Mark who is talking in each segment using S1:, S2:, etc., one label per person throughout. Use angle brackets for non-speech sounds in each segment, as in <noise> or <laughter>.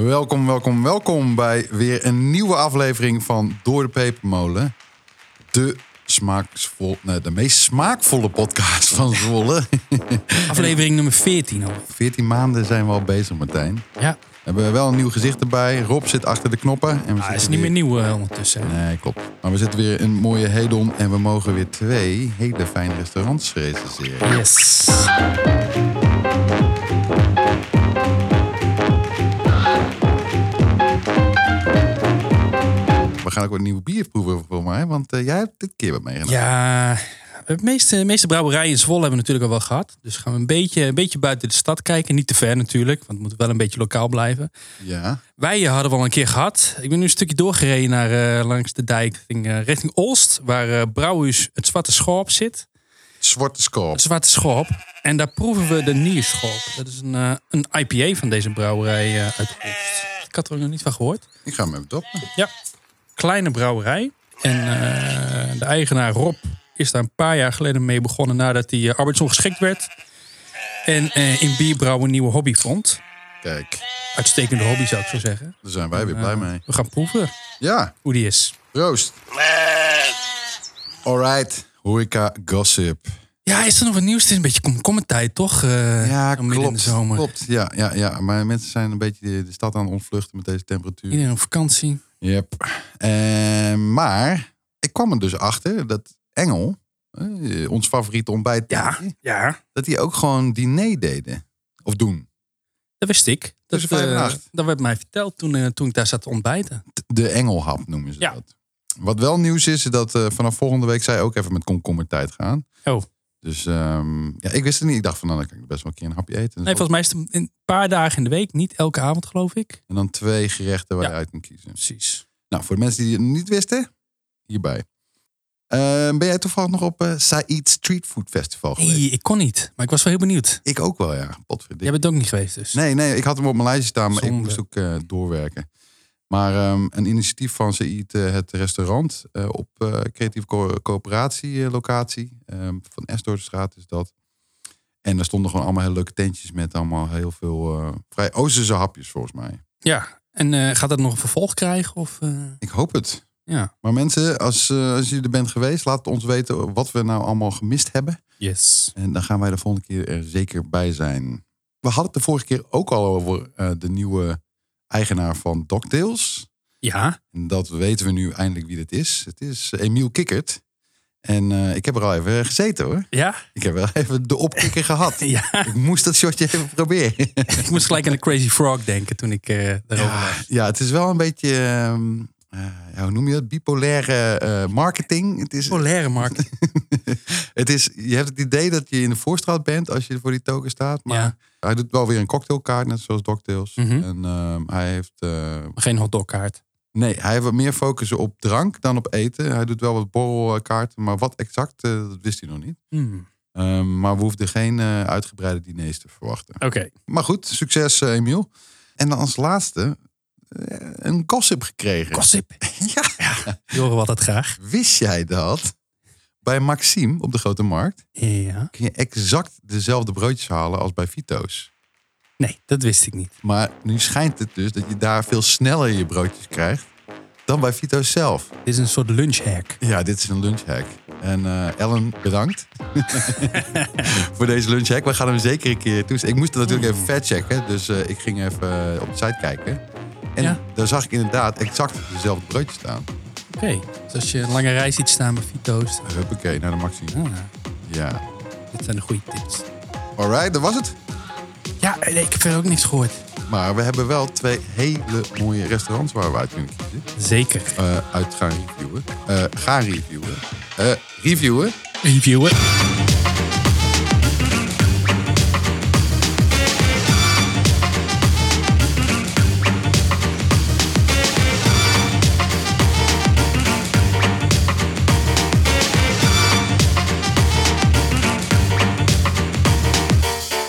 S1: Welkom, welkom, welkom bij weer een nieuwe aflevering van Door de Pepermolen. De, smaaksvol, nee, de meest smaakvolle podcast
S2: <laughs>
S1: van Zwolle.
S2: Aflevering nummer 14 al.
S1: 14 maanden zijn we al bezig, Martijn. We
S2: Ja.
S1: hebben wel een nieuw gezicht erbij. Rob zit achter de knoppen. En we
S2: Ah,
S1: zitten
S2: is niet
S1: weer-
S2: meer nieuw eh, ondertussen. hè?
S1: Nee, klopt. Maar we zitten weer in een mooie Hedon en we mogen weer twee hele fijne restaurants recenseren.
S2: Yes.
S1: We gaan ook wat nieuwe bier proeven voor mij, want eh, jij hebt dit keer wat meegenomen.
S2: Ja, de meeste, de meeste brouwerijen in Zwolle hebben we natuurlijk al wel gehad. Dus gaan we een beetje, een beetje buiten de stad kijken. Niet te ver natuurlijk, want het moet wel een beetje lokaal blijven.
S1: Ja.
S2: Wij eh, hadden we al een keer gehad. Ik ben nu een stukje doorgereden naar, eh, langs de dijk richting, eh, richting Olst. Waar eh brouwhuis het Zwarte Schorp zit.
S1: Zwarte Scorp.
S2: Het Zwarte Schorp. En daar proeven we de Nierschorp. Dat is een, eh, een IPA van deze brouwerij eh, uit Olst. Ik had er nog niet van gehoord.
S1: Ik ga hem even doppen.
S2: Ja, kleine brouwerij. En eh, de eigenaar Rob is daar een paar jaar geleden mee begonnen nadat hij eh, arbeidsongeschikt werd. En eh, in bierbrouwen een nieuwe hobby vond.
S1: Kijk,
S2: Uitstekende hobby zou ik zo zeggen.
S1: daar zijn wij weer blij mee.
S2: We gaan proeven
S1: Ja,
S2: hoe die is.
S1: proost. Alright, horeca gossip.
S2: Ja, is er nog wat nieuws? Het is een beetje komkommertijd toch? Eh,
S1: Ja,
S2: midden in de
S1: klopt.
S2: zomer.
S1: klopt. Ja, ja, ja, maar mensen zijn een beetje de, de stad aan het ontvluchten met deze temperatuur.
S2: Iedereen op vakantie.
S1: Yep. Eh, maar ik kwam er dus achter dat Engel, eh, ons favoriete ontbijt,
S2: Ja, ja.
S1: dat die ook gewoon diner deden. Of doen.
S2: Dat wist ik. Dat,
S1: Tussen Dus vijf en
S2: eh,
S1: acht.
S2: dat werd mij verteld toen, eh, toen ik daar zat te ontbijten.
S1: T- De Engelhap noemen ze
S2: Ja.
S1: dat. Wat wel nieuws is, is dat eh, vanaf volgende week zij ook even met komkommertijd gaan.
S2: Oh.
S1: Dus ehm, ja, ik wist het niet. Ik dacht van, nou, dan kan ik best wel een keer een hapje eten.
S2: Nee, volgens mij is het een paar dagen in de week. Niet elke avond geloof ik.
S1: En dan twee gerechten waar
S2: Ja.
S1: je uit kunt kiezen.
S2: Precies.
S1: Nou, voor de mensen die het niet wisten, hierbij. Ehm, ben jij toevallig nog op eh Said Street Food Festival geweest?
S2: Nee, ik kon niet. Maar ik was wel heel benieuwd.
S1: Ik ook wel, ja. Potverdikke.
S2: Jij bent ook niet geweest dus?
S1: Nee, nee, ik had hem op mijn lijstje staan, maar ik
S2: Zonde.
S1: moest ook eh, doorwerken. Maar ehm, een initiatief van Said, eh, het restaurant eh, op eh, creatieve co- coöperatie eh, locatie ehm, van Esdorpstraat is dat. En daar stonden gewoon allemaal hele leuke tentjes met allemaal heel veel eh, vrij Oosterse hapjes volgens mij.
S2: Ja. En eh, gaat dat nog een vervolg krijgen? Of, eh,
S1: Ik hoop het.
S2: Ja.
S1: Maar mensen, als, eh, als jullie er bent geweest, laat ons weten wat we nou allemaal gemist hebben.
S2: Yes.
S1: En dan gaan wij de volgende keer er zeker bij zijn. We hadden het de vorige keer ook al over eh, de nieuwe eigenaar van DocTales.
S2: Ja.
S1: En dat weten we nu eindelijk wie het is. Het is Emiel Kikkert. En eh, ik heb er al even gezeten hoor.
S2: Ja? <laughs>
S1: Ik heb wel <laughs> even de opkikker gehad.
S2: Ja.
S1: Ik moest dat shotje even proberen.
S2: ik moest gelijk aan de Crazy Frog denken toen ik eh
S1: <laughs>
S2: daarover
S1: Ja,
S2: las.
S1: ja, het is wel een beetje, ehm, eh, ja, hoe noem je dat? Bipolaire eh, marketing. Het is,
S2: Polaire markt.
S1: <laughs> het is, je hebt het idee dat je in de voorstraat bent als je voor die token staat. Maar
S2: Ja.
S1: hij doet wel weer een cocktailkaart, net zoals DocTales.
S2: Mhm.
S1: En ehm, hij heeft, eh,
S2: Geen hotdogkaart.
S1: nee, hij heeft wat meer focus op drank dan op eten. Hij doet wel wat borrelkaarten, maar wat exact, eh, dat wist hij nog niet.
S2: Hmm.
S1: Ehm, maar we hoefden geen eh, uitgebreide diners te verwachten.
S2: Oké.
S1: Maar goed, succes eh, Emiel. En dan als laatste eh, een gossip gekregen.
S2: Gossip.
S1: ja.
S2: Die horen we altijd graag.
S1: Wist jij dat? Bij Maxime op de Grote Markt
S2: Ja.
S1: kun je exact dezelfde broodjes halen als bij Vito's.
S2: Nee, dat wist ik niet.
S1: Maar nu schijnt het dus dat je daar veel sneller je broodjes krijgt dan bij Vito's zelf.
S2: Dit is een soort lunchhack.
S1: Ja, dit is een lunchhack. En eh, Ellen, bedankt <laughs> voor deze lunchhack. We gaan hem zeker een keer toezetten. Ik moest het natuurlijk even factchecken, dus eh, ik ging even eh, op de site kijken. En
S2: Ja.
S1: daar zag ik inderdaad exact dezelfde broodjes staan.
S2: Oké. Dus als je een lange rij ziet staan bij Vito's. dan-
S1: Huppakee, naar de Maxime.
S2: Ah,
S1: Ja.
S2: dit zijn de goede tips.
S1: Alright, dat was het.
S2: Ja, nee, ik heb verder ook niks gehoord.
S1: Maar we hebben wel twee hele mooie restaurants waar we uit kunnen kiezen.
S2: Zeker.
S1: Eh, uit gaan reviewen. Eh, gaan reviewen. Eh, reviewen.
S2: Reviewen.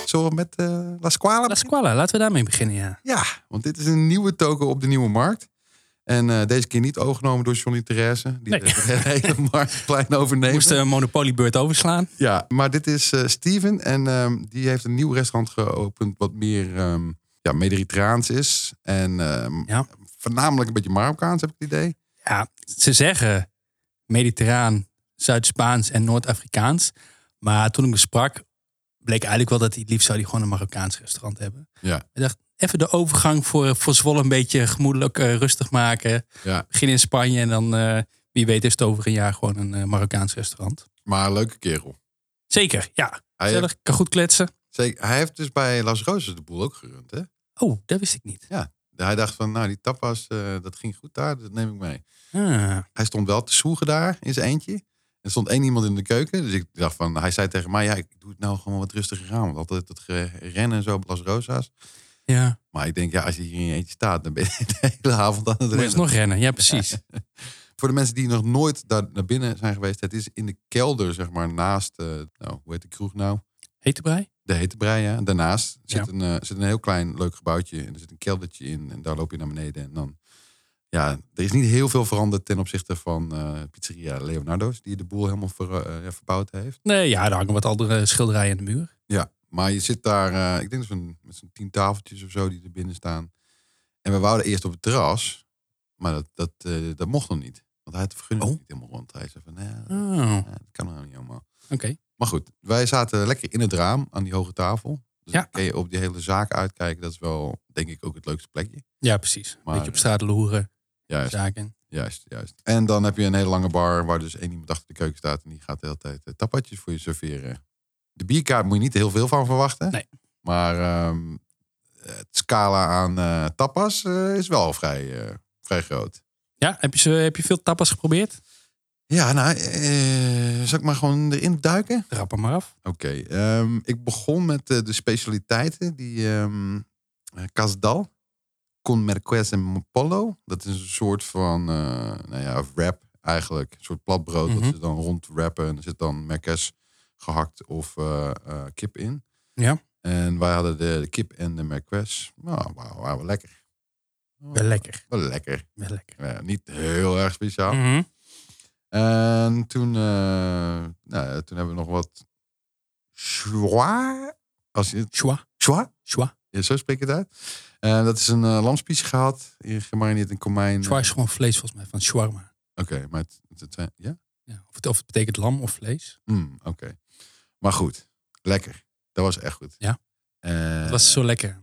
S1: Zullen we met eh La Squala
S2: La Squalla, laten we daarmee beginnen, ja.
S1: Ja, want dit is een nieuwe token op de nieuwe markt. En eh, deze keer niet overgenomen door Johnny Therese. Die
S2: Nee.
S1: de hele
S2: <laughs>
S1: marktplein overneemt.
S2: Moest eh, de monopoliebeurt overslaan.
S1: Ja, maar dit is eh, Steven. En ehm, die heeft een nieuw restaurant geopend. Wat meer ehm, ja, Mediterraans is. En ehm,
S2: Ja.
S1: voornamelijk een beetje Marokkaans heb ik het idee.
S2: Ja, ze zeggen Mediterraan, Zuid-Spaans en Noord-Afrikaans. Maar toen ik hem sprak, bleek eigenlijk wel dat hij het liefst zou die gewoon een Marokkaans restaurant hebben.
S1: Ja.
S2: Ik dacht, even de overgang voor, voor Zwolle een beetje gemoedelijk eh, rustig maken.
S1: Ja.
S2: Begin in Spanje en dan, eh, wie weet, is het over een jaar gewoon een eh, Marokkaans restaurant.
S1: Maar een leuke kerel.
S2: Zeker, ja.
S1: Hij heeft,
S2: Gezellig, kan goed kletsen.
S1: zeker, hij heeft dus bij Las Roses de boel ook gerund. Hè?
S2: Oh, dat wist ik niet.
S1: Hij dacht van, nou die tapas, eh, dat ging goed daar, dat neem ik mee.
S2: Ah,
S1: hij stond wel te zwoegen daar in zijn eentje. En er stond één iemand in de keuken. Dus ik dacht van, hij zei tegen mij, ja, ik doe het nou gewoon wat rustiger aan. Want altijd dat rennen en zo op Las Rosas.
S2: ja,
S1: Maar ik denk, ja, als je hier in je eentje staat, dan ben je <laughs> de hele avond aan het
S2: moet je eens
S1: rennen.
S2: nog rennen. Ja,
S1: <laughs>
S2: precies.
S1: Voor de mensen die nog nooit daar naar binnen zijn geweest, het is in de kelder, zeg maar, naast, eh, nou, hoe heet de kroeg nou?
S2: Heet erbij?
S1: De Hete Brei, ja. Daarnaast zit,
S2: Ja.
S1: een, eh, zit een heel klein leuk gebouwtje. En er zit een keldertje in. En daar loop je naar beneden. En dan, ja, er is niet heel veel veranderd ten opzichte van eh, pizzeria Leonardo's. Die de boel helemaal ver, eh, ja, verbouwd heeft.
S2: Nee, ja, er hangen wat andere schilderijen aan de muur.
S1: Ja, maar je zit daar, eh, ik denk zo'n, met zo'n tien tafeltjes of zo die er binnen staan. En we wouden eerst op het terras. Maar dat, dat, eh, dat mocht nog niet. Want hij had de vergunning
S2: Oh.
S1: niet helemaal rond. Hij zei van, nee, dat,
S2: Oh, oké.
S1: ja, dat kan nou niet helemaal. Maar goed, wij zaten lekker in het raam aan die hoge tafel. Dus
S2: Ja.
S1: dan kun je op die hele zaak uitkijken. Dat is wel, denk ik, ook het leukste plekje.
S2: Ja, precies.
S1: Maar,
S2: Beetje op straat loeren,
S1: Juist,
S2: zaken.
S1: juist, juist. En dan heb je een hele lange bar waar dus één iemand achter de keuken staat. En die gaat de hele tijd eh, tapatjes voor je serveren. De bierkaart moet je niet heel veel van verwachten.
S2: Nee.
S1: Maar ehm, het scala aan eh, tapas eh, is wel vrij, eh, vrij groot.
S2: Ja, heb je, ze- heb je veel tapas geprobeerd?
S1: Ja, nou, eh, zal ik maar gewoon erin duiken?
S2: Trap hem maar af.
S1: Oké, ehm, ik begon met eh, de specialiteiten. Die ehm eh, Casdal, Con Merquez en Pollo. Dat is een soort van eh, nou ja, wrap eigenlijk. Een soort platbrood
S2: Mhm.
S1: dat ze dan rondwrappen. En er zit dan Merquez gehakt of eh, eh, kip in.
S2: Ja.
S1: En wij hadden de, de kip en de Merquez. Nou, wauw, wauw, lekker.
S2: Wel lekker.
S1: Wel lekker.
S2: Wel lekker.
S1: Ja, niet heel erg speciaal.
S2: Mhm.
S1: En toen, eh, nou, ja, toen hebben we nog wat. Chua. Als je
S2: Chua,
S1: Chua?
S2: chua.
S1: Ja, zo spreek je het uit. Eh, dat is een eh lamspies gehad, in- gemarineerd in komijn.
S2: Chua is gewoon vlees volgens mij, van shawarma.
S1: Oké, maar het, het- het zijn- ja?
S2: Ja, of, het, of het betekent lam of vlees.
S1: Mm, Oké. Maar goed, lekker. Dat was echt goed.
S2: Ja.
S1: Eh,
S2: Het was zo lekker.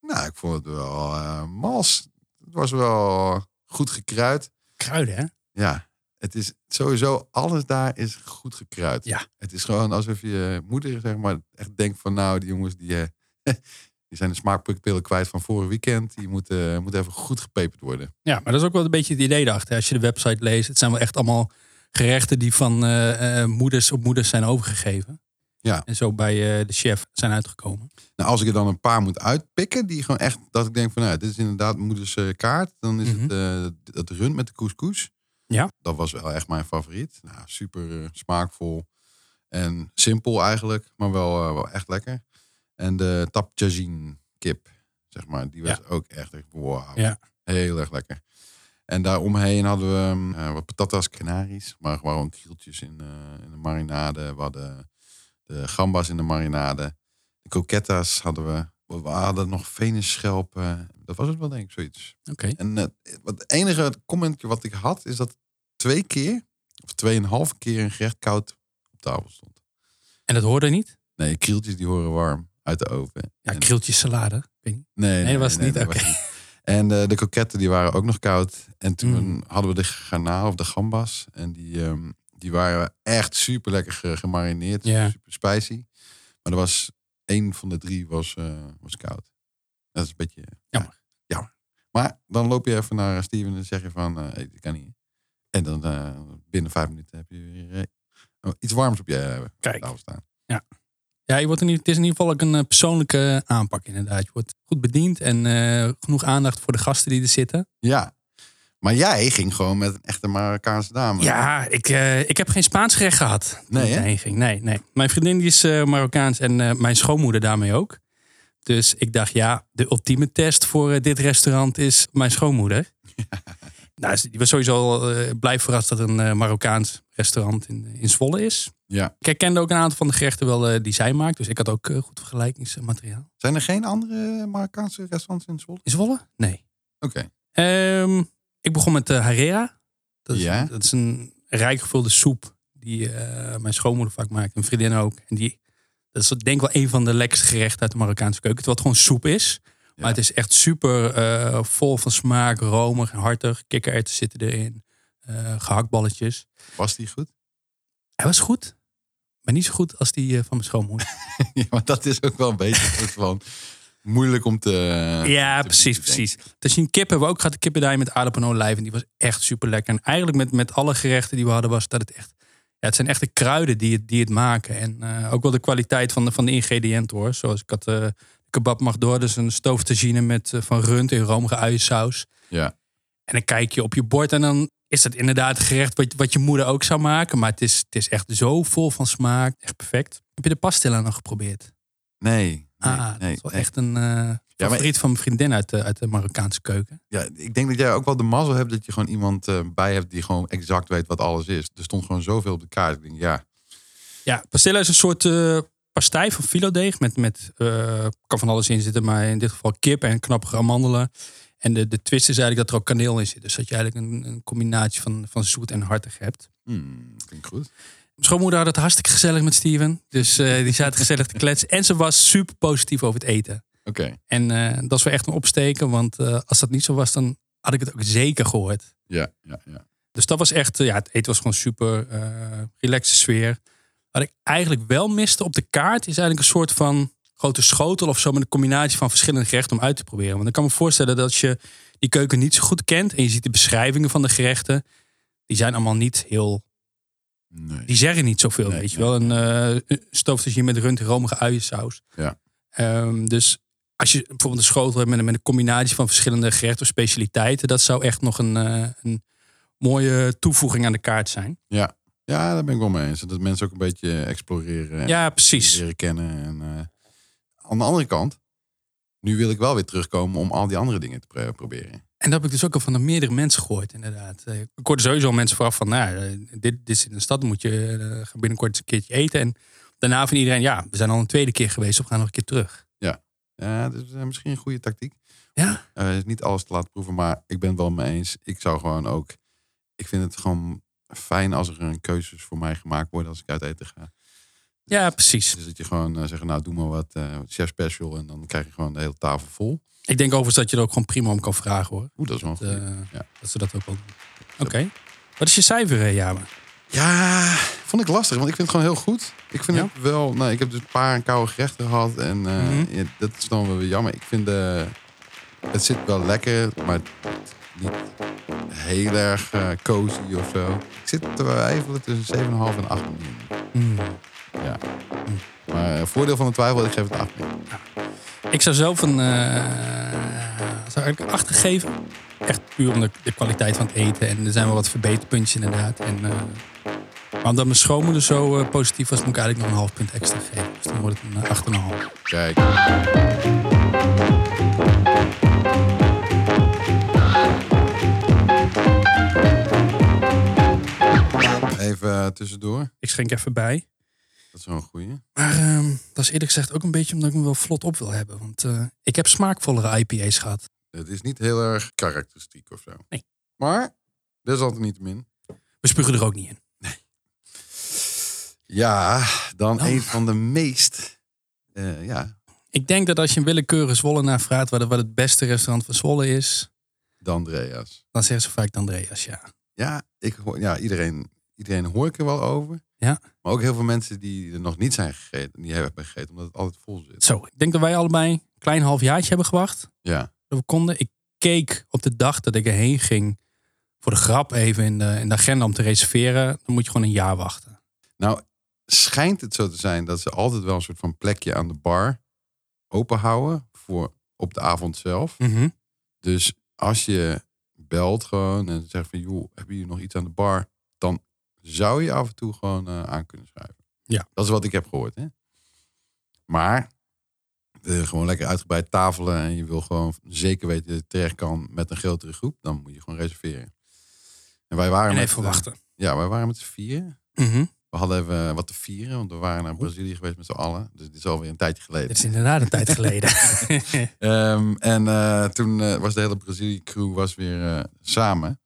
S1: Nou, ik vond het wel eh, mals. Het was wel goed gekruid.
S2: Kruiden, hè?
S1: Ja, het is sowieso, alles daar is goed gekruid.
S2: Ja.
S1: Het is gewoon alsof je moeder, zeg maar, echt denkt van nou, die jongens die, eh, <laughs> die zijn de smaakpillen kwijt van vorig weekend. Die moeten, moeten even goed gepeperd worden.
S2: Ja, maar dat is ook wel een beetje het idee daarachter. Als je de website leest, het zijn wel echt allemaal gerechten die van eh, eh, moeders op moeders zijn overgegeven.
S1: Ja.
S2: En zo bij eh, de chef zijn uitgekomen.
S1: Nou, als ik er dan een paar moet uitpikken, die gewoon echt, dat ik denk van nou, dit is inderdaad moeders eh, kaart. Dan is het eh, dat rund met de couscous.
S2: Mhm. Ja.
S1: Dat was wel echt mijn favoriet. Nou, super eh, smaakvol en simpel eigenlijk, maar wel, eh, wel echt lekker. En de tapjajin kip, zeg maar, die was ook echt, echt wow,
S2: Ja.
S1: heel erg lekker. En daaromheen hadden we ehm, eh, wat patatas canaries, maar gewoon krieltjes in, eh, in de marinade. We hadden de gambas in de marinade. De coquettas hadden we. We hadden nog venusschelpen. Dat was het wel, denk ik, zoiets.
S2: Oké.
S1: En eh, wat het enige commentje wat ik had, is dat twee keer, of tweeënhalf keer een gerecht koud op tafel stond.
S2: En dat hoorde niet?
S1: Nee, krieltjes die horen warm uit de oven.
S2: Ja,
S1: En-
S2: krieltjes salade. Ik weet niet.
S1: Nee,
S2: dat was het niet,
S1: dat
S2: oké.
S1: was het niet. En eh, de kroketten die waren ook nog koud. En toen
S2: Mm.
S1: hadden we de garnaal of de gambas. En die, ehm, die waren echt super lekker ge- gemarineerd.
S2: Ja.
S1: Super spicy. Maar er was één van de drie was, eh, was koud. Dat is een beetje eh,
S2: Jammer.
S1: jammer. Maar dan loop je even naar Steven en zeg je van, eh hey, dit kan niet. En dan eh, binnen vijf minuten heb je weer eh, iets warms op je eh,
S2: Kijk.
S1: tafel staan.
S2: Ja, je wordt in, ieder- het is in ieder geval ook een eh, persoonlijke aanpak inderdaad. Je wordt goed bediend en eh, genoeg aandacht voor de gasten die er zitten.
S1: Ja. Maar jij ging gewoon met een echte Marokkaanse dame.
S2: Ja, ik, eh, ik heb geen Spaans gerecht gehad. toen
S1: Nee,
S2: ik
S1: hè?
S2: daarheen ging. Nee, nee. Mijn vriendin die is eh, Marokkaans en eh, mijn schoonmoeder daarmee ook.
S1: <laughs>
S2: Dus ik dacht, ja, de ultieme test voor eh, dit restaurant is mijn schoonmoeder. Nou, ik was sowieso al, eh, blij verrast dat er een eh, Marokkaans restaurant in, eh, in Zwolle is.
S1: Ja.
S2: Ik herkende ook een aantal van de gerechten wel eh, die zij maakt. Dus ik had ook eh, goed vergelijkingsmateriaal.
S1: Zijn er geen andere Marokkaanse restaurants in Zwolle?
S2: In Zwolle? Nee.
S1: Oké.
S2: Ehm, ik begon met de Harera. Dat is,
S1: Ja.
S2: dat is een rijk gevulde soep die eh, mijn schoonmoeder vaak maakt. Een vriendin ook. En die, dat is denk ik wel een van de lekkerste gerechten uit de Marokkaanse keuken. Terwijl het gewoon soep is.
S1: Ja.
S2: Maar het is echt super eh, vol van smaak, romig en hartig. Kikkererwten zitten erin. eh, gehaktballetjes.
S1: Was die goed? <laughs>
S2: Hij was goed. Maar niet zo goed als die eh, van mijn schoonmoeder.
S1: ja, maar dat is ook wel een beetje een soort van moeilijk om te...
S2: Ja,
S1: te
S2: precies,
S1: bieden, denk ik.
S2: precies. Tajin kip hebben we ook gehad. De kippendij met aardappel en olijf. En die was echt super lekker. En eigenlijk met, met alle gerechten die we hadden was dat het echt... Ja, het zijn echte kruiden die het, die het maken. En eh, ook wel de kwaliteit van de, van de ingrediënten hoor. Zoals ik had eh kebab mag door. Dus een stooftagine met eh, van rund in romige uiensaus.
S1: Ja.
S2: En dan kijk je op je bord en dan is dat inderdaad het gerecht wat, wat je moeder ook zou maken. Maar het is, het is echt zo vol van smaak. Echt perfect. Heb je de pastilla nog geprobeerd?
S1: Nee. nee,
S2: ah,
S1: nee,
S2: dat is wel
S1: nee.
S2: echt een eh
S1: maar-
S2: favoriet van mijn vriendin uit de, uit de Marokkaanse keuken.
S1: Ja, ik denk dat jij ook wel de mazzel hebt dat je gewoon iemand eh, bij hebt die gewoon exact weet wat alles is. Er stond gewoon zoveel op de kaart. Ik denk, ja,
S2: Ja, pastilla is een soort eh pastei van filodeeg. Met, met, eh, kan van alles in zitten, maar in dit geval kip en knappige amandelen. En de, de twist is eigenlijk dat er ook kaneel in zit. Dus dat je eigenlijk een, een combinatie van, van zoet en hartig hebt.
S1: hmm, klinkt goed.
S2: Mijn schoonmoeder had het hartstikke gezellig met Steven. Dus eh, die zaten gezellig te kletsen. En ze was super positief over het eten.
S1: Oké,
S2: En eh, dat is wel echt een opsteken. Want eh, als dat niet zo was, dan had ik het ook zeker gehoord.
S1: ja, ja, ja.
S2: Dus dat was echt, eh, ja, het eten was gewoon super eh relaxe sfeer. Wat ik eigenlijk wel miste op de kaart is eigenlijk een soort van grote schotel of zo met een combinatie van verschillende gerechten om uit te proberen. Want ik kan me voorstellen dat als je die keuken niet zo goed kent en je ziet de beschrijvingen van de gerechten, die zijn allemaal niet heel,
S1: Nee.
S2: die zeggen niet zoveel,
S1: Nee,
S2: weet je
S1: nee,
S2: wel. Een eh stoofdagje met rund en romige uiensaus.
S1: Ja.
S2: Ehm, dus als je bijvoorbeeld een schotel hebt met een, met een combinatie van verschillende gerechten of specialiteiten, dat zou echt nog een, eh, een mooie toevoeging aan de kaart zijn.
S1: Ja, daar ben ik wel mee eens. Dat mensen ook een beetje exploreren en
S2: Ja, precies.
S1: leren kennen. En, eh, aan de andere kant, nu wil ik wel weer terugkomen om al die andere dingen te pro- proberen.
S2: En dat heb ik dus ook al van de meerdere mensen gehoord, inderdaad. Eh, Ik hoorde sowieso al mensen vooraf van, nou, eh, dit, dit is in de stad, dan moet je eh, ga binnenkort eens een keertje eten. En daarna van iedereen, ja, we zijn al een tweede keer geweest, of we gaan nog een keer terug.
S1: Ja, dat is eh, misschien een goede tactiek.
S2: Ja.
S1: Eh, is niet alles te laten proeven, maar ik ben het wel mee eens. Ik zou gewoon ook... Ik vind het gewoon fijn als er een keuzes voor mij gemaakt worden als ik uit eten ga.
S2: Ja, precies.
S1: Dus dat je gewoon eh, zegt, nou doe maar wat eh, chef special en dan krijg je gewoon de hele tafel vol.
S2: Ik denk overigens dat je er ook gewoon prima om kan vragen, hoor.
S1: Oeh, dat is wel een
S2: Dat,
S1: goeie.
S2: eh,
S1: Ja.
S2: dat ze dat ook wel doen. Oké. Wat is je cijfer, eh, Jama?
S1: Ja, vond ik lastig, want ik vind het gewoon heel goed. Ik vind
S2: Ja?
S1: het wel... Nou, ik heb dus een paar koude gerechten gehad en eh,
S2: Mhm.
S1: ja, dat is dan wel weer jammer. Ik vind de... Het zit wel lekker, maar niet heel erg eh, cozy of zo. Ik zit te twijfelen tussen 7,5 en 8 miljoen.
S2: Hmm.
S1: Ja. Maar eh, voordeel van de twijfel, ik geef het 8 miljoen.
S2: Ik zou zelf een. eh zou ik een acht geven. Echt puur om de, de kwaliteit van het eten. En er zijn wel wat verbeterpuntjes inderdaad. En, eh, maar omdat mijn schoonmoeder zo eh, positief was, moet ik eigenlijk nog een half punt extra geven. Dus dan wordt het een eh, acht en een half.
S1: Kijk. Even eh, tussendoor.
S2: Ik schenk even bij.
S1: Dat is wel een goeie.
S2: Maar ehm, dat is eerlijk gezegd ook een beetje omdat ik hem wel vlot op wil hebben. Want eh, ik heb smaakvollere IPA's gehad.
S1: Het is niet heel erg karakteristiek of zo.
S2: Nee.
S1: Maar, desalniettemin.
S2: We spugen er ook niet in.
S1: Ja, dan
S2: Nou.
S1: een van de meest... eh, ja,
S2: Ik denk dat als je een willekeurige Zwollenaar vraagt wat, het- wat het beste restaurant van Zwolle is,
S1: de Andrea's.
S2: dan zeggen ze vaak de Andreas, ja.
S1: Ja, ik hoor, ja iedereen, iedereen hoor ik er wel over.
S2: Ja.
S1: Maar ook heel veel mensen die er nog niet zijn gegeten, die hebben gegeten, omdat het altijd vol zit.
S2: Zo, ik denk dat wij allebei een klein half jaartje hebben gewacht.
S1: Ja,
S2: dat we konden. Ik keek op de dag dat ik erheen ging voor de grap even in de, in de agenda om te reserveren. Dan moet je gewoon een jaar wachten.
S1: schijnt het zo te zijn dat ze altijd wel een soort van plekje aan de bar openhouden voor op de avond zelf.
S2: Mhm.
S1: Dus als je belt gewoon en zegt van joh, hebben jullie nog iets aan de bar? Dan zou je af en toe gewoon eh, aan kunnen schuiven.
S2: Ja.
S1: Dat is wat ik heb gehoord. Hè? Maar de, gewoon lekker uitgebreid tafelen en je wil gewoon zeker weten dat je terecht kan met een grotere groep, dan moet je gewoon reserveren. En wij waren
S2: En
S1: met,
S2: even
S1: eh,
S2: wachten.
S1: Ja, wij waren met z'n vier.
S2: Mhm.
S1: We hadden even wat te vieren, want we waren naar Brazilië geweest met z'n allen. Dus dit is alweer een tijdje geleden.
S2: Dit is inderdaad een tijd geleden. <laughs>
S1: Ehm, en eh, toen eh, was de hele Brazilië-crew was weer eh, samen.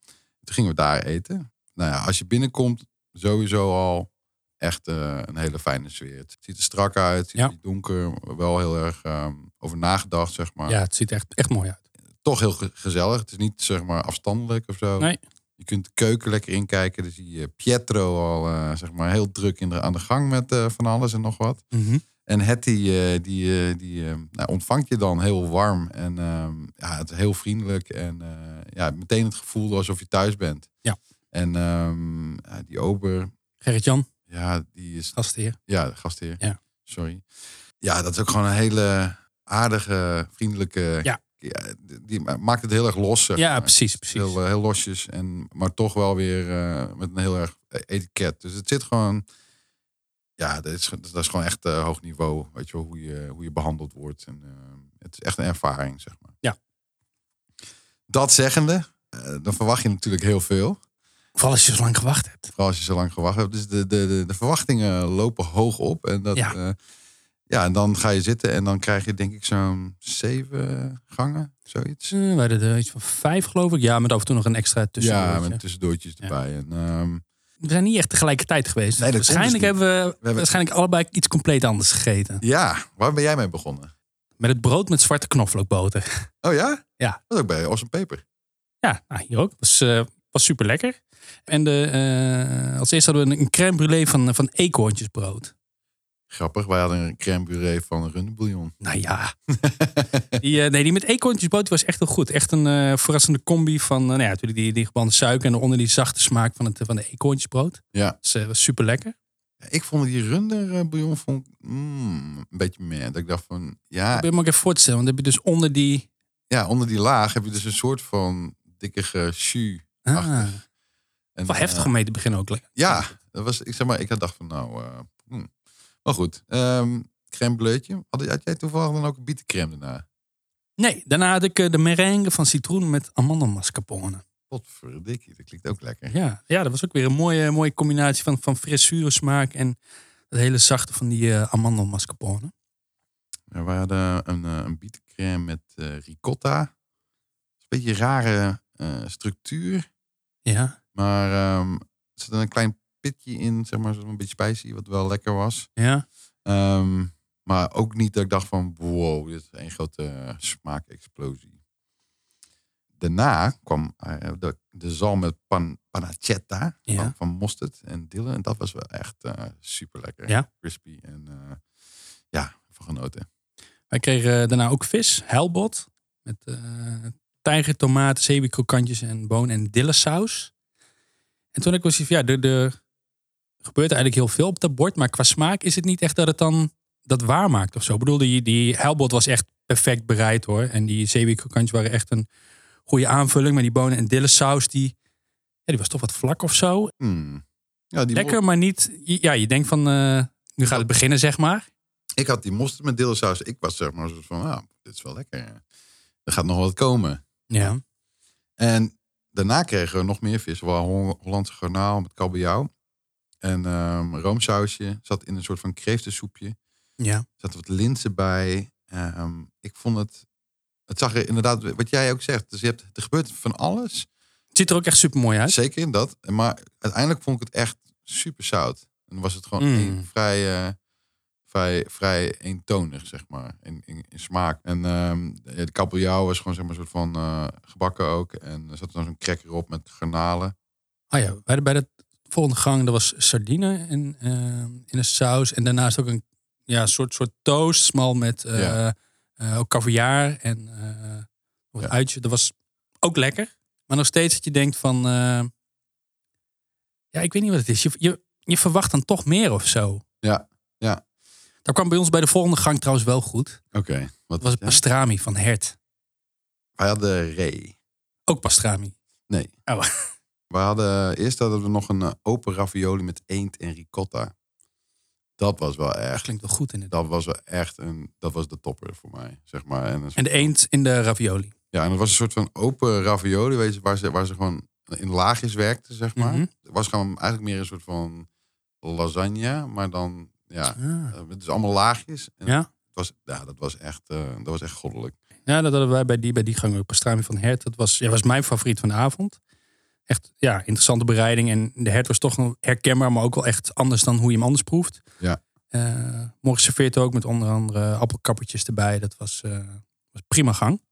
S1: Toen gingen we daar eten. Nou ja, als je binnenkomt, sowieso al echt eh, een hele fijne sfeer. Het ziet er strak uit, het ziet
S2: Ja.
S1: er donker, wel heel erg ehm, over nagedacht, zeg maar.
S2: ja, het ziet echt, echt mooi uit.
S1: Toch heel ge- gezellig. Het is niet, zeg maar, afstandelijk of zo.
S2: Nee.
S1: Je kunt de keuken lekker inkijken. Dan zie je Pietro al, eh, zeg maar, heel druk in de, aan de gang met eh, van alles en nog wat.
S2: Mhm.
S1: En Hetty, eh, die, eh, die eh, nou, ontvangt je dan heel warm en ehm, ja, het is heel vriendelijk. En eh, ja, meteen het gevoel alsof je thuis bent.
S2: Ja.
S1: En ehm, ja, die ober,
S2: Gerrit-Jan,
S1: ja, die is...
S2: gastheer.
S1: Ja, de gastheer.
S2: Ja.
S1: Sorry. Ja, dat is ook gewoon een hele aardige, vriendelijke...
S2: Ja.
S1: die- die maakt het heel erg los, zeg
S2: Ja,
S1: maar.
S2: precies, precies.
S1: Heel, eh, heel losjes, en, maar toch wel weer eh, met een heel erg etiket. Dus het zit gewoon... Ja, dat is, dat is gewoon echt eh, hoog niveau. Weet je wel, hoe je, hoe je behandeld wordt. En, eh, het is echt een ervaring, zeg maar.
S2: Ja.
S1: Dat zeggende, eh, dan verwacht je natuurlijk heel veel.
S2: Vooral als je zo lang gewacht hebt.
S1: Vooral als je zo lang gewacht hebt. Dus de, de, de, de verwachtingen lopen hoog op. En dat,
S2: Ja.
S1: ja. ja, en dan ga je zitten en dan krijg je denk ik zo'n zeven gangen, zoiets.
S2: Eh, we hadden er iets van vijf, geloof ik. Ja, met af en toe nog een extra
S1: Ja,
S2: tussendoortje.
S1: met tussendoortjes
S2: Ja.
S1: erbij. En, ehm,
S2: We zijn niet echt tegelijkertijd geweest.
S1: Nee, dat kon
S2: waarschijnlijk
S1: dus niet.
S2: hebben we,
S1: hebben-
S2: waarschijnlijk allebei iets compleet anders gegeten.
S1: ja, waar ben jij mee begonnen?
S2: Met het brood met zwarte knoflookboter.
S1: Oh ja?
S2: Ja.
S1: Dat is ook bij Awesome Paper.
S2: Ja, nou, hier ook. Was, eh, was super lekker. En de, eh, als eerste hadden we een, een crème brûlée van, van eekhoorntjesbrood.
S1: Grappig, wij hadden een crème puree van rundenbouillon.
S2: <laughs> Nou ja. die, eh, nee, die met eekhoorntjesboot die was echt heel goed. Echt een eh, verrassende combi van eh, nou ja, natuurlijk die, die gebrande suiker en daaronder die zachte smaak van, het, eh, van de eekhoorntjesbrood.
S1: Ja. Ah.
S2: Dus, eh, was super lekker.
S1: Ik vond die runderbouillon vond, ik, mm, een beetje meer. Dat ik dacht van, ja,
S2: Ik ben me ook even voor te stellen, want dan heb je dus onder die...
S1: ja, onder die laag heb je dus een soort van dikkige jus.
S2: Ah,
S1: Achtig. En,
S2: wel heftig
S1: eh,
S2: om mee te beginnen ook. lekker.
S1: Ja, dat was, ik zeg maar, ik had dacht van nou, eh, hmm. maar goed. ehm crème bleutje. Had, had jij toevallig dan ook een bietencrème daarna?
S2: Nee, daarna had ik eh, de merengue van citroen met amandelmascarpone.
S1: Potverdikkie, dat klinkt ook lekker.
S2: Ja, ja, dat was ook weer een mooie, mooie combinatie van, van frissure smaak en het hele zachte van die eh, amandelmascarpone.
S1: Ja, we hadden een, eh, een bietencrème met eh, ricotta. Een beetje rare eh, structuur,
S2: Ja,
S1: maar ehm, er zat een klein pitje in, zeg maar, zo'n beetje spicy, wat wel lekker was.
S2: ja.
S1: Ehm, maar ook niet dat ik dacht van, wow, dit is een grote eh, smaakexplosie. Daarna kwam eh, de, de zalm met pan, pancetta
S2: Ja.
S1: van, van mosterd en dille. En dat was wel echt super lekker.
S2: Ja.
S1: Crispy en eh, ja, van genoten.
S2: Wij kregen eh, daarna ook vis, helbot, met eh tijger, tomaten, zeebiekrokantjes en boon en dillesaus. En toen had ik was van ja, er, er gebeurt eigenlijk heel veel op dat bord, maar qua smaak is het niet echt dat het dan dat waar maakt of zo. Ik bedoel, die, die helbot was echt perfect bereid hoor. En die zeebiekrokantjes waren echt een goede aanvulling, maar die bonen en dillesaus, die, ja, die was toch wat vlak of zo.
S1: Hmm. Ja, die
S2: Lekker, maar niet. Ja, je denkt van. eh, nu gaat het beginnen, zeg maar.
S1: Ik had die mosterd met deelsaus. Ik was zeg maar zo van, nou, dit is wel lekker. Er gaat nog wat komen.
S2: Ja.
S1: En daarna kregen we nog meer vis. Wel Hol- Hollandse garnaal met kabeljauw. En ehm, roomsausje. Zat in een soort van kreeftensoepje.
S2: Ja.
S1: Zat wat linzen bij. Ehm, ik vond het... Het zag er inderdaad, wat jij ook zegt. Dus je hebt, er gebeurt van alles.
S2: Het ziet er ook echt super mooi uit.
S1: Zeker in dat. Maar uiteindelijk vond ik het echt super zout. En was het gewoon
S2: Mm.
S1: een vrij, eh, vrij, vrij eentonig, zeg maar, in, in, in smaak. En ehm, ja, de kabeljauw was gewoon zeg maar, een soort van eh, gebakken ook. En er zat dan zo'n cracker op met garnalen.
S2: Oh ja, we hadden bij de volgende gang. Er was sardine in, eh, in een saus. En daarnaast ook een ja, soort, soort toast. Smal met eh
S1: Ja.
S2: eh, ook caviar en eh wat
S1: Ja.
S2: uitje. Dat was ook lekker. Maar nog steeds dat je denkt van. eh, ja, ik weet niet wat het is. Je, je, je verwacht dan toch meer of zo.
S1: Ja, ja.
S2: Dat kwam bij ons bij de volgende gang trouwens wel goed.
S1: Oké. Wat
S2: Dat was het
S1: was het?
S2: pastrami van hert.
S1: Wij hadden ree.
S2: Ook pastrami.
S1: Nee.
S2: Oh.
S1: We hadden, eerst hadden we nog een eh, open ravioli met eend en ricotta. Dat was wel
S2: Dat
S1: echt,
S2: klinkt wel goed inderdaad.
S1: dat was wel echt een, dat was de topper voor mij, zeg maar. En een
S2: En de eend in de ravioli.
S1: Ja, en het was een soort van open ravioli, weet je, waar ze, waar ze gewoon in laagjes werkte, zeg maar.
S2: Mhm.
S1: Was gewoon eigenlijk meer een soort van lasagne, maar dan, ja,
S2: Ah.
S1: eh, het is allemaal laagjes. En
S2: Ja.
S1: Het was, ja, dat was echt, eh, dat was echt goddelijk.
S2: Ja, dat hadden wij bij die, bij die gang ook. Pastrami van hert. Dat was, ja, was mijn favoriet van de avond. Echt ja, interessante bereiding. En de hert was toch nog herkenbaar, maar ook wel echt anders dan hoe je hem anders proeft.
S1: Ja.
S2: Eh, morgen serveert ook met onder andere appelkappertjes erbij. Dat was, eh, was prima gang.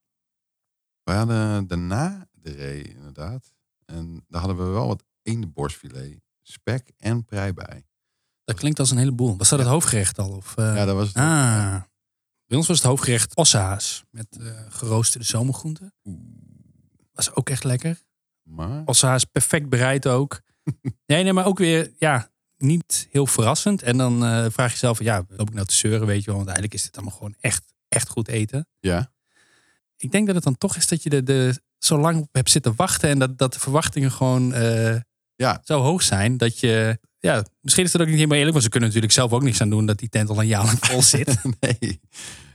S1: We hadden daarna de ree, inderdaad. En daar hadden we wel wat eendenborstfilet, spek en prei bij.
S2: Dat klinkt als een heleboel. Was dat
S1: Ja.
S2: het hoofdgerecht al? Of, eh,
S1: Ja, dat was het.
S2: ah. Bij ons was het hoofdgerecht ossehaas. Met eh, geroosterde zomergroenten. Was ook echt lekker.
S1: Maar
S2: Alsa is perfect
S1: <laughs>
S2: bereid ook. Nee, nee, maar ook weer, ja, niet heel verrassend. En dan eh, vraag je jezelf, ja, loop ik nou te zeuren, weet je wel. Want eigenlijk is dit allemaal gewoon echt, echt goed eten.
S1: ja,
S2: Ik denk dat het dan toch is dat je er de, zo lang op hebt zitten wachten. En dat, dat de verwachtingen gewoon eh,
S1: Ja.
S2: zo hoog zijn. Dat je, ja, misschien is dat ook niet helemaal eerlijk. Want ze kunnen natuurlijk zelf ook niks aan doen dat die tent al een jaar lang vol
S1: <laughs>
S2: zit.
S1: nee.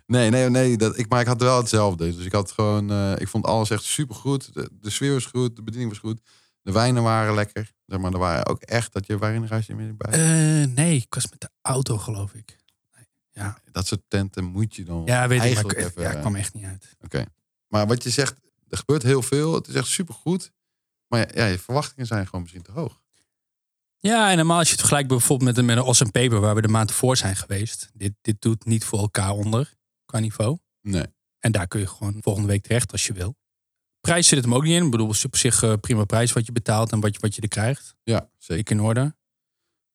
S1: Nee, nee, nee. Dat, ik, maar ik had wel hetzelfde. Dus ik had gewoon, eh, ik vond alles echt supergoed. De, de sfeer was goed, de bediening was goed. De wijnen waren lekker. Zeg maar er waren ook echt dat je wijnreisje mee bij.
S2: Eh, nee, ik was met de auto geloof ik.
S1: dat soort tenten moet je dan.
S2: Ja, weet ik, maar
S1: eigenlijk
S2: ik,
S1: even, eh.
S2: ja, ik kwam echt niet uit.
S1: Maar wat je zegt, er gebeurt heel veel. Het is echt supergoed. Maar ja, ja, je verwachtingen zijn gewoon misschien te hoog.
S2: Ja, en normaal als je het vergelijkt bijvoorbeeld met een, met een Os en Paper, waar we de maand voor zijn geweest. Dit, dit doet niet voor elkaar onder qua niveau.
S1: Nee.
S2: En daar kun je gewoon volgende week terecht als je wil. Prijs zit het hem ook niet in. Ik bedoel, het is op zich eh, prima prijs wat je betaalt en wat je, wat je er krijgt.
S1: Ja, zeker.
S2: Ik in orde.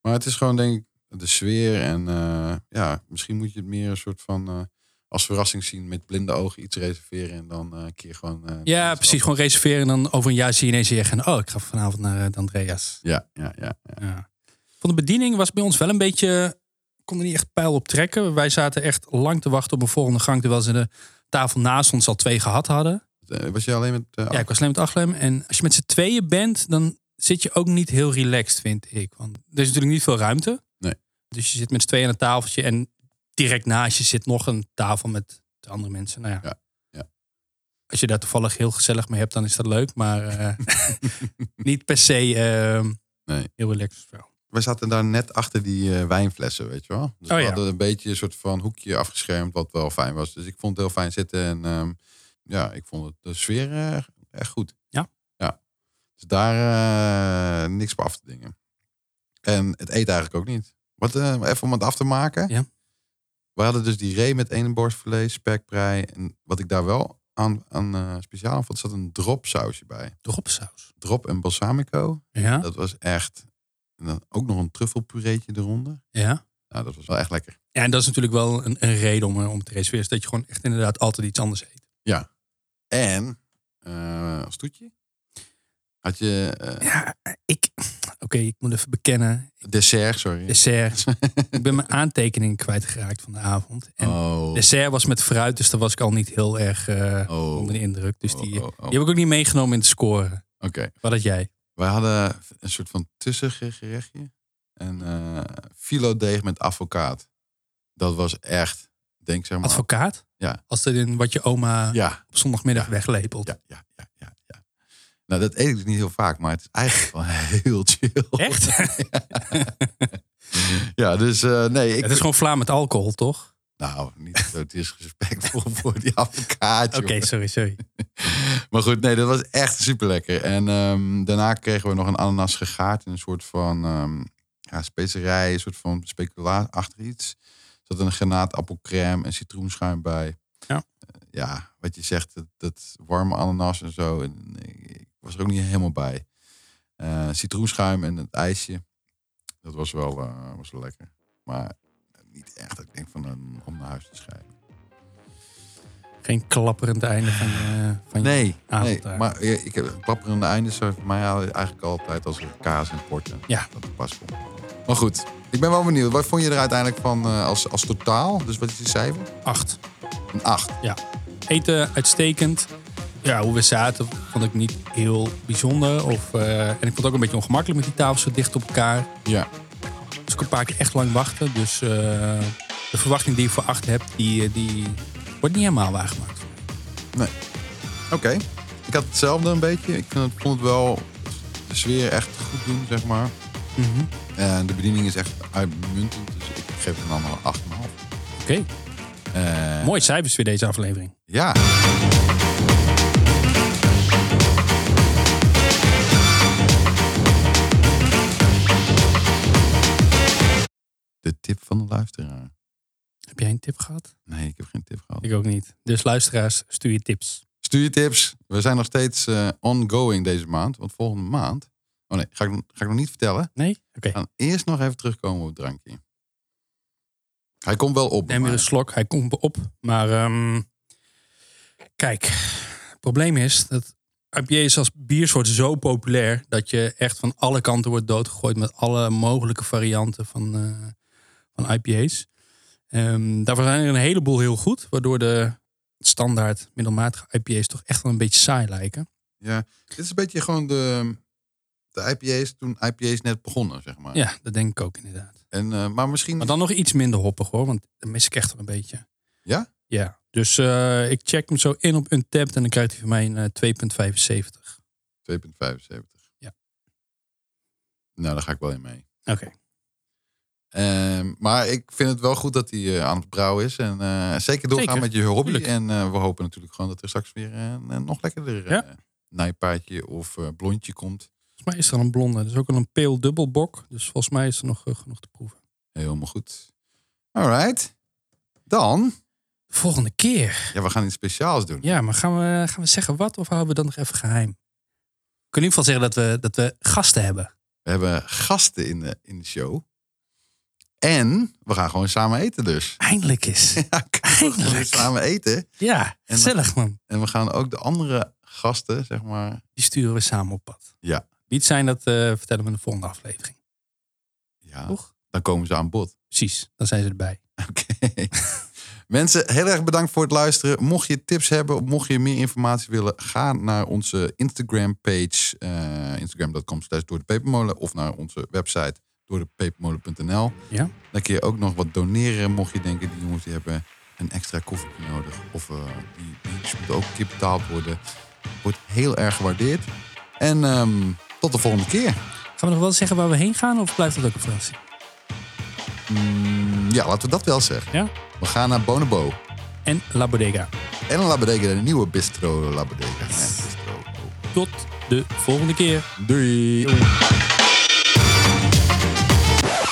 S1: Maar het is gewoon denk ik de sfeer en eh, ja, misschien moet je het meer een soort van eh, als verrassing zien met blinde ogen iets reserveren en dan eh, een keer gewoon. eh,
S2: Ja, precies. Gewoon reserveren en dan over een jaar zie je ineens weer gaan. Oh, ik ga vanavond naar eh, de Andreas.
S1: Ja, ja, ja. ja.
S2: Ja. Van de bediening was bij ons wel een beetje. kon er niet echt pijl op trekken. Wij zaten echt lang te wachten op een volgende gang. Terwijl ze de tafel naast ons al twee gehad hadden.
S1: Eh, Was je alleen met? eh,
S2: Ja, ik was alleen met Achlem. En als je met z'n tweeën bent, dan zit je ook niet heel relaxed, vind ik. Want er is natuurlijk niet veel ruimte.
S1: Nee.
S2: Dus je zit met z'n tweeën aan een tafeltje en direct naast je zit nog een tafel met de andere mensen. Nou ja.
S1: Ja, ja.
S2: Als je daar toevallig heel gezellig mee hebt, dan is dat leuk. Maar eh, <laughs> niet per se eh,
S1: Nee.
S2: heel relaxed. wel.
S1: We zaten daar net achter die eh, wijnflessen, weet je wel. Dus
S2: Oh,
S1: we
S2: ja.
S1: hadden een beetje een soort van hoekje afgeschermd, wat wel fijn was. Dus ik vond het heel fijn zitten en ehm, ja, ik vond het, de sfeer eh, echt goed.
S2: Ja.
S1: Ja. Dus daar eh, niks op af te dingen. En het eet eigenlijk ook niet. Wat, eh, even om het af te maken.
S2: Ja.
S1: We hadden dus die ree met ene borstfilet, spekprei. En wat ik daar wel aan, aan eh, speciaal aan vond, zat een dropsausje bij.
S2: Dropsaus.
S1: Drop en balsamico.
S2: Ja,
S1: Dat was echt. En dan ook nog een truffelpureetje eronder.
S2: ja.
S1: Nou, dat was wel echt lekker.
S2: Ja, en dat is natuurlijk wel een, een reden om, eh, om te reserveren. Is dat je gewoon echt inderdaad altijd iets anders eet.
S1: En eh, een stoetje. Had je eh,
S2: Ja, ik... Oké, ik moet even bekennen.
S1: dessert, sorry.
S2: Dessert. Ik ben mijn aantekeningen kwijtgeraakt van de avond. En
S1: oh.
S2: dessert was met fruit, dus daar was ik al niet heel erg eh,
S1: oh.
S2: onder de indruk. Dus die,
S1: oh, oh, oh.
S2: die heb ik ook niet meegenomen in de score.
S1: Oké.
S2: Wat had jij?
S1: Wij hadden een soort van tussengerechtje. Een eh filodeeg met avocaat. Dat was echt, denk zeg maar.
S2: Advocaat?
S1: Ja.
S2: Als dat in wat je oma
S1: ja,
S2: op zondagmiddag
S1: Ja.
S2: weglepelt.
S1: ja, ja, ja, ja, ja. Nou, dat eet ik dus niet heel vaak, maar het is eigenlijk wel <laughs> heel chill. <laughs>
S2: Echt?
S1: Ja, dus eh, nee, ik.
S2: Het is gewoon vla met alcohol, toch?
S1: Nou, niet zo disrespectvol <laughs> voor die advocaat.
S2: Oké,
S1: jongen.
S2: sorry, sorry.
S1: Maar goed, nee, dat was echt super lekker. En ehm, daarna kregen we nog een ananas gegaard in een soort van ehm ja, specerij, een soort van speculaat achter iets. Er zat een granaatappelcrème en citroenschuim bij.
S2: Ja.
S1: Eh, ja, wat je zegt, dat, dat warme ananas en zo. En ik, ik was er ook niet helemaal bij. Eh, citroenschuim en het ijsje. Dat was wel, eh, was wel lekker. Maar niet echt dat ik denk van een, om naar huis te schrijven.
S2: Geen klapperend einde van, eh van je-
S1: Nee, nee
S2: avond, eh.
S1: maar ja, ik heb klapperende einde is voor mij eigenlijk altijd als er kaas en porten.
S2: Ja.
S1: Dat het pas komt. Maar goed, ik ben wel benieuwd. Wat vond je er uiteindelijk van eh, als, als totaal? Dus wat is die cijfer?
S2: Acht.
S1: Een 8.
S2: Ja. Eten uitstekend. Ja, hoe we zaten vond ik niet heel bijzonder. Of, eh, en ik vond het ook een beetje ongemakkelijk met die tafels zo dicht op elkaar.
S1: Ja.
S2: Dus ik een paar keer echt lang wachten. Dus eh, de verwachting die ik voor acht heb, die, eh, die wordt niet helemaal waargemaakt.
S1: Oké. Ik had hetzelfde een beetje. Ik vind het- vond het wel de sfeer echt goed doen, zeg maar.
S2: Mhm.
S1: En de bediening is echt uitmuntend. Dus ik geef het een andere 8,5.
S2: Oké,
S1: Eh,
S2: mooie cijfers weer deze aflevering.
S1: Ja. De tip van de luisteraar.
S2: Heb jij een tip gehad?
S1: Nee, ik heb geen tip gehad.
S2: Ik ook niet. Dus luisteraars, stuur je tips.
S1: Studietips. We zijn nog steeds eh, ongoing deze maand. Want volgende maand... Oh nee, ga ik, ga ik nog niet vertellen.
S2: Nee? Oh. Oké.
S1: We gaan eerst nog even terugkomen op het drankje. Hij komt wel op.
S2: Neem weer
S1: maar-
S2: een slok. Hij komt op. Maar ehm, kijk, het probleem is dat IPA is als biersoort zo populair dat je echt van alle kanten wordt doodgegooid met alle mogelijke varianten van, eh, van IPA's. Ehm, daarvan zijn er een heleboel heel goed, waardoor de standaard middelmatige IPA's toch echt wel een beetje saai lijken.
S1: Ja, dit is een beetje gewoon de, de IPA's toen IPA's net begonnen, zeg maar.
S2: Ja, dat denk ik ook inderdaad.
S1: En, eh, maar misschien...
S2: Maar dan nog iets minder hoppig hoor, want dat mis ik echt wel een beetje.
S1: Ja?
S2: Ja, dus eh, ik check hem zo in op Untapped en dan krijgt hij van mij een eh, 2,75.
S1: 2,75.
S2: Ja.
S1: Nou, daar ga ik wel in mee.
S2: Oké.
S1: Ehm, maar ik vind het wel goed dat hij eh, aan het brouwen is. En eh, zeker doorgaan
S2: Zeker,
S1: met je hobby.
S2: tuurlijk.
S1: En eh, we hopen natuurlijk gewoon dat er straks weer een, een nog lekkerder eh,
S2: Ja.
S1: nijpaardje of eh, blondje komt.
S2: Volgens mij is er al een blonde. Dat is ook al een peel dubbelbok. Dus volgens mij is er nog eh, genoeg te proeven.
S1: Helemaal goed. Alright. Dan.
S2: De volgende keer.
S1: Ja, we gaan iets speciaals doen.
S2: Ja, maar gaan we, gaan we zeggen wat of houden we dat nog even geheim? We kunnen in ieder geval zeggen dat we, dat we gasten hebben.
S1: We hebben gasten in de, in de show. En we gaan gewoon samen eten dus. <laughs>
S2: Eindelijk is.
S1: Ja, we gaan
S2: Eindelijk.
S1: samen eten.
S2: Ja,
S1: dan-
S2: gezellig man.
S1: En we gaan ook de andere gasten, zeg maar.
S2: Die sturen we samen op pad.
S1: Ja.
S2: Wie het zijn, dat eh, vertellen we in de volgende aflevering.
S1: Ja,
S2: Toch?
S1: dan komen ze aan bod. <laughs>
S2: Precies, dan zijn ze erbij.
S1: Oké. Mensen, heel erg bedankt voor het luisteren. Mocht je tips hebben, of mocht je meer informatie willen, ga naar onze Instagram-page, eh, instagram.com slash door de pepermolen, of naar onze website doordepepermolen.nl.
S2: Ja.
S1: Dan kun je ook nog wat doneren, mocht je denken, die jongens die hebben een extra koffietje nodig, of eh, die, die moet ook een keer betaald worden. Wordt heel erg gewaardeerd. En ehm, tot de volgende keer.
S2: Gaan we nog wel zeggen waar we heen gaan of blijft dat ook een verrassing?
S1: Mm, ja, laten we dat wel zeggen.
S2: Ja.
S1: We gaan naar Bonobo.
S2: En La Bodega.
S1: En La Bodega, de nieuwe bistro La Bodega. Ja, bistro.
S2: Tot de volgende keer.
S1: Doei.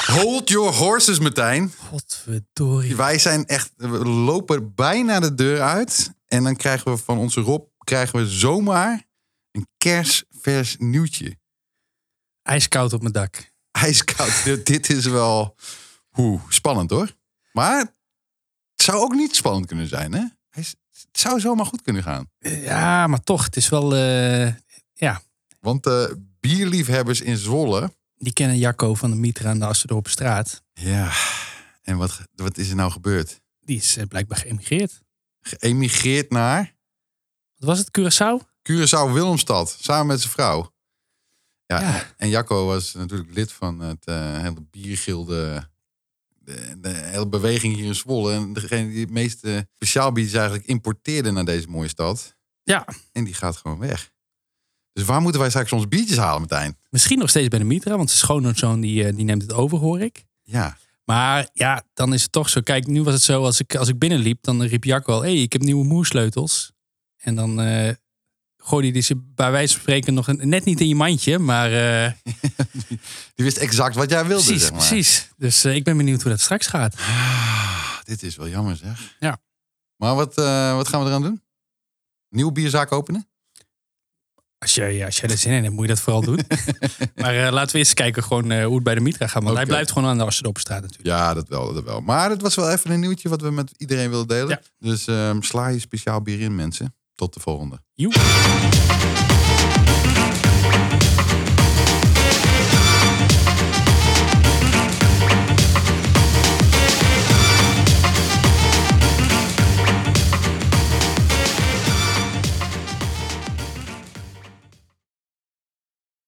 S1: Hold your horses, Martijn.
S2: Godverdorie.
S1: Wij zijn echt, we lopen bijna de deur uit. En dan krijgen we van onze Rob, krijgen we zomaar een kersvers nieuwtje.
S2: Ijskoud op mijn dak.
S1: Ijskoud. <laughs> Dit- Dit is wel hoe, spannend hoor. Maar het zou ook niet spannend kunnen zijn, hè? Hij is- Het zou zomaar goed kunnen gaan.
S2: Ja, maar toch, het is wel. eh,
S1: Want eh, bierliefhebbers in Zwolle.
S2: die kennen Jacco van de Mitra aan de Asterdorpstraat.
S1: Ja. En wat, wat is er nou gebeurd?
S2: Die is eh, blijkbaar geëmigreerd.
S1: Geëmigreerd naar
S2: Wat was het, Curaçao?
S1: Curaçao Willemstad. Samen met zijn vrouw. Ja.
S2: Ja.
S1: En Jacco was natuurlijk lid van het eh, hele biergilde. De, de hele beweging hier in Zwolle. En degene die het meeste speciaalbiers eigenlijk importeerde naar deze mooie stad.
S2: Ja.
S1: En die gaat gewoon weg. Dus waar moeten wij straks onze biertjes halen, Martijn?
S2: Misschien nog steeds bij de Mitra, want zijn schoonzoon die, eh, die neemt het over, hoor ik.
S1: Ja.
S2: Maar ja, dan is het toch zo. Kijk, nu was het zo, als ik, als ik binnenliep, dan riep Jacco al... hé, hey, ik heb nieuwe moersleutels. En dan eh gooide hij ze bij wijze van spreken nog een, net niet in je mandje, maar... eh,
S1: Die wist exact wat jij wilde.
S2: precies,
S1: zeg maar.
S2: precies. Dus eh, ik ben benieuwd hoe dat straks gaat.
S1: Ah, dit is wel jammer zeg.
S2: Ja.
S1: Maar wat, eh, wat gaan we eraan doen? Nieuwe bierzaak openen?
S2: Als jij, als jij er zin in hebt, moet je dat vooral
S1: <laughs>
S2: doen. maar eh, laten we eerst kijken gewoon, eh, hoe het bij de Mitra gaat. Want hij
S1: Oké.
S2: blijft gewoon aan de Asterdorpstraat natuurlijk.
S1: Ja, dat wel, dat wel. Maar het was wel even een nieuwtje wat we met iedereen wilden delen.
S2: Ja.
S1: Dus ehm, sla je speciaal bier in mensen. Tot de volgende.
S2: Joep.